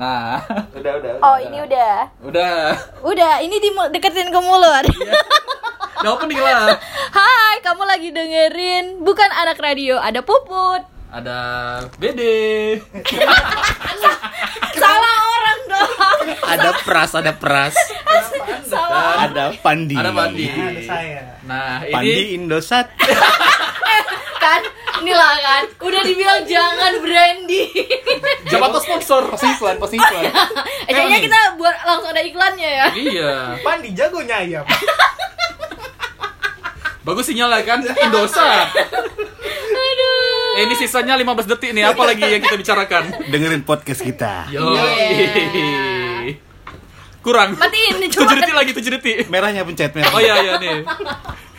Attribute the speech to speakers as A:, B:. A: Nah,
B: Udah, udah.
C: Oh ini udah.
A: udah.
C: Udah, ini di deketin ke mulut.
A: Udah opening lah.
C: Hai, kamu lagi dengerin bukan anak radio, ada Puput.
A: Ada BD.
C: Salah orang dong.
D: Ada peras, ada peras,
C: Salah.
D: ada pandi.
A: Ada Pandi.
E: Ada saya.
A: Nah,
D: Pandi
A: ini
D: Indosat.
C: Kan inilah kan. Udah dibilang jangan branding.
A: coba tuh sponsor.
B: Iklan, pasti iklan.
C: Eh, Kayaknya kita buat langsung ada iklannya ya.
A: Iya.
E: Pandi jagonya ayam.
A: Bagus sinyalnya kan Indosat.
C: Aduh.
A: Eh, ini sisanya 15 detik nih, apa lagi yang kita bicarakan?
D: Dengerin podcast kita.
A: Yo.
C: Iya.
A: Kurang.
C: Matiin nih,
A: Tujuh
C: coba.
A: detik lagi, tujuh detik.
D: Merahnya pencet merah.
A: Oh iya iya nih.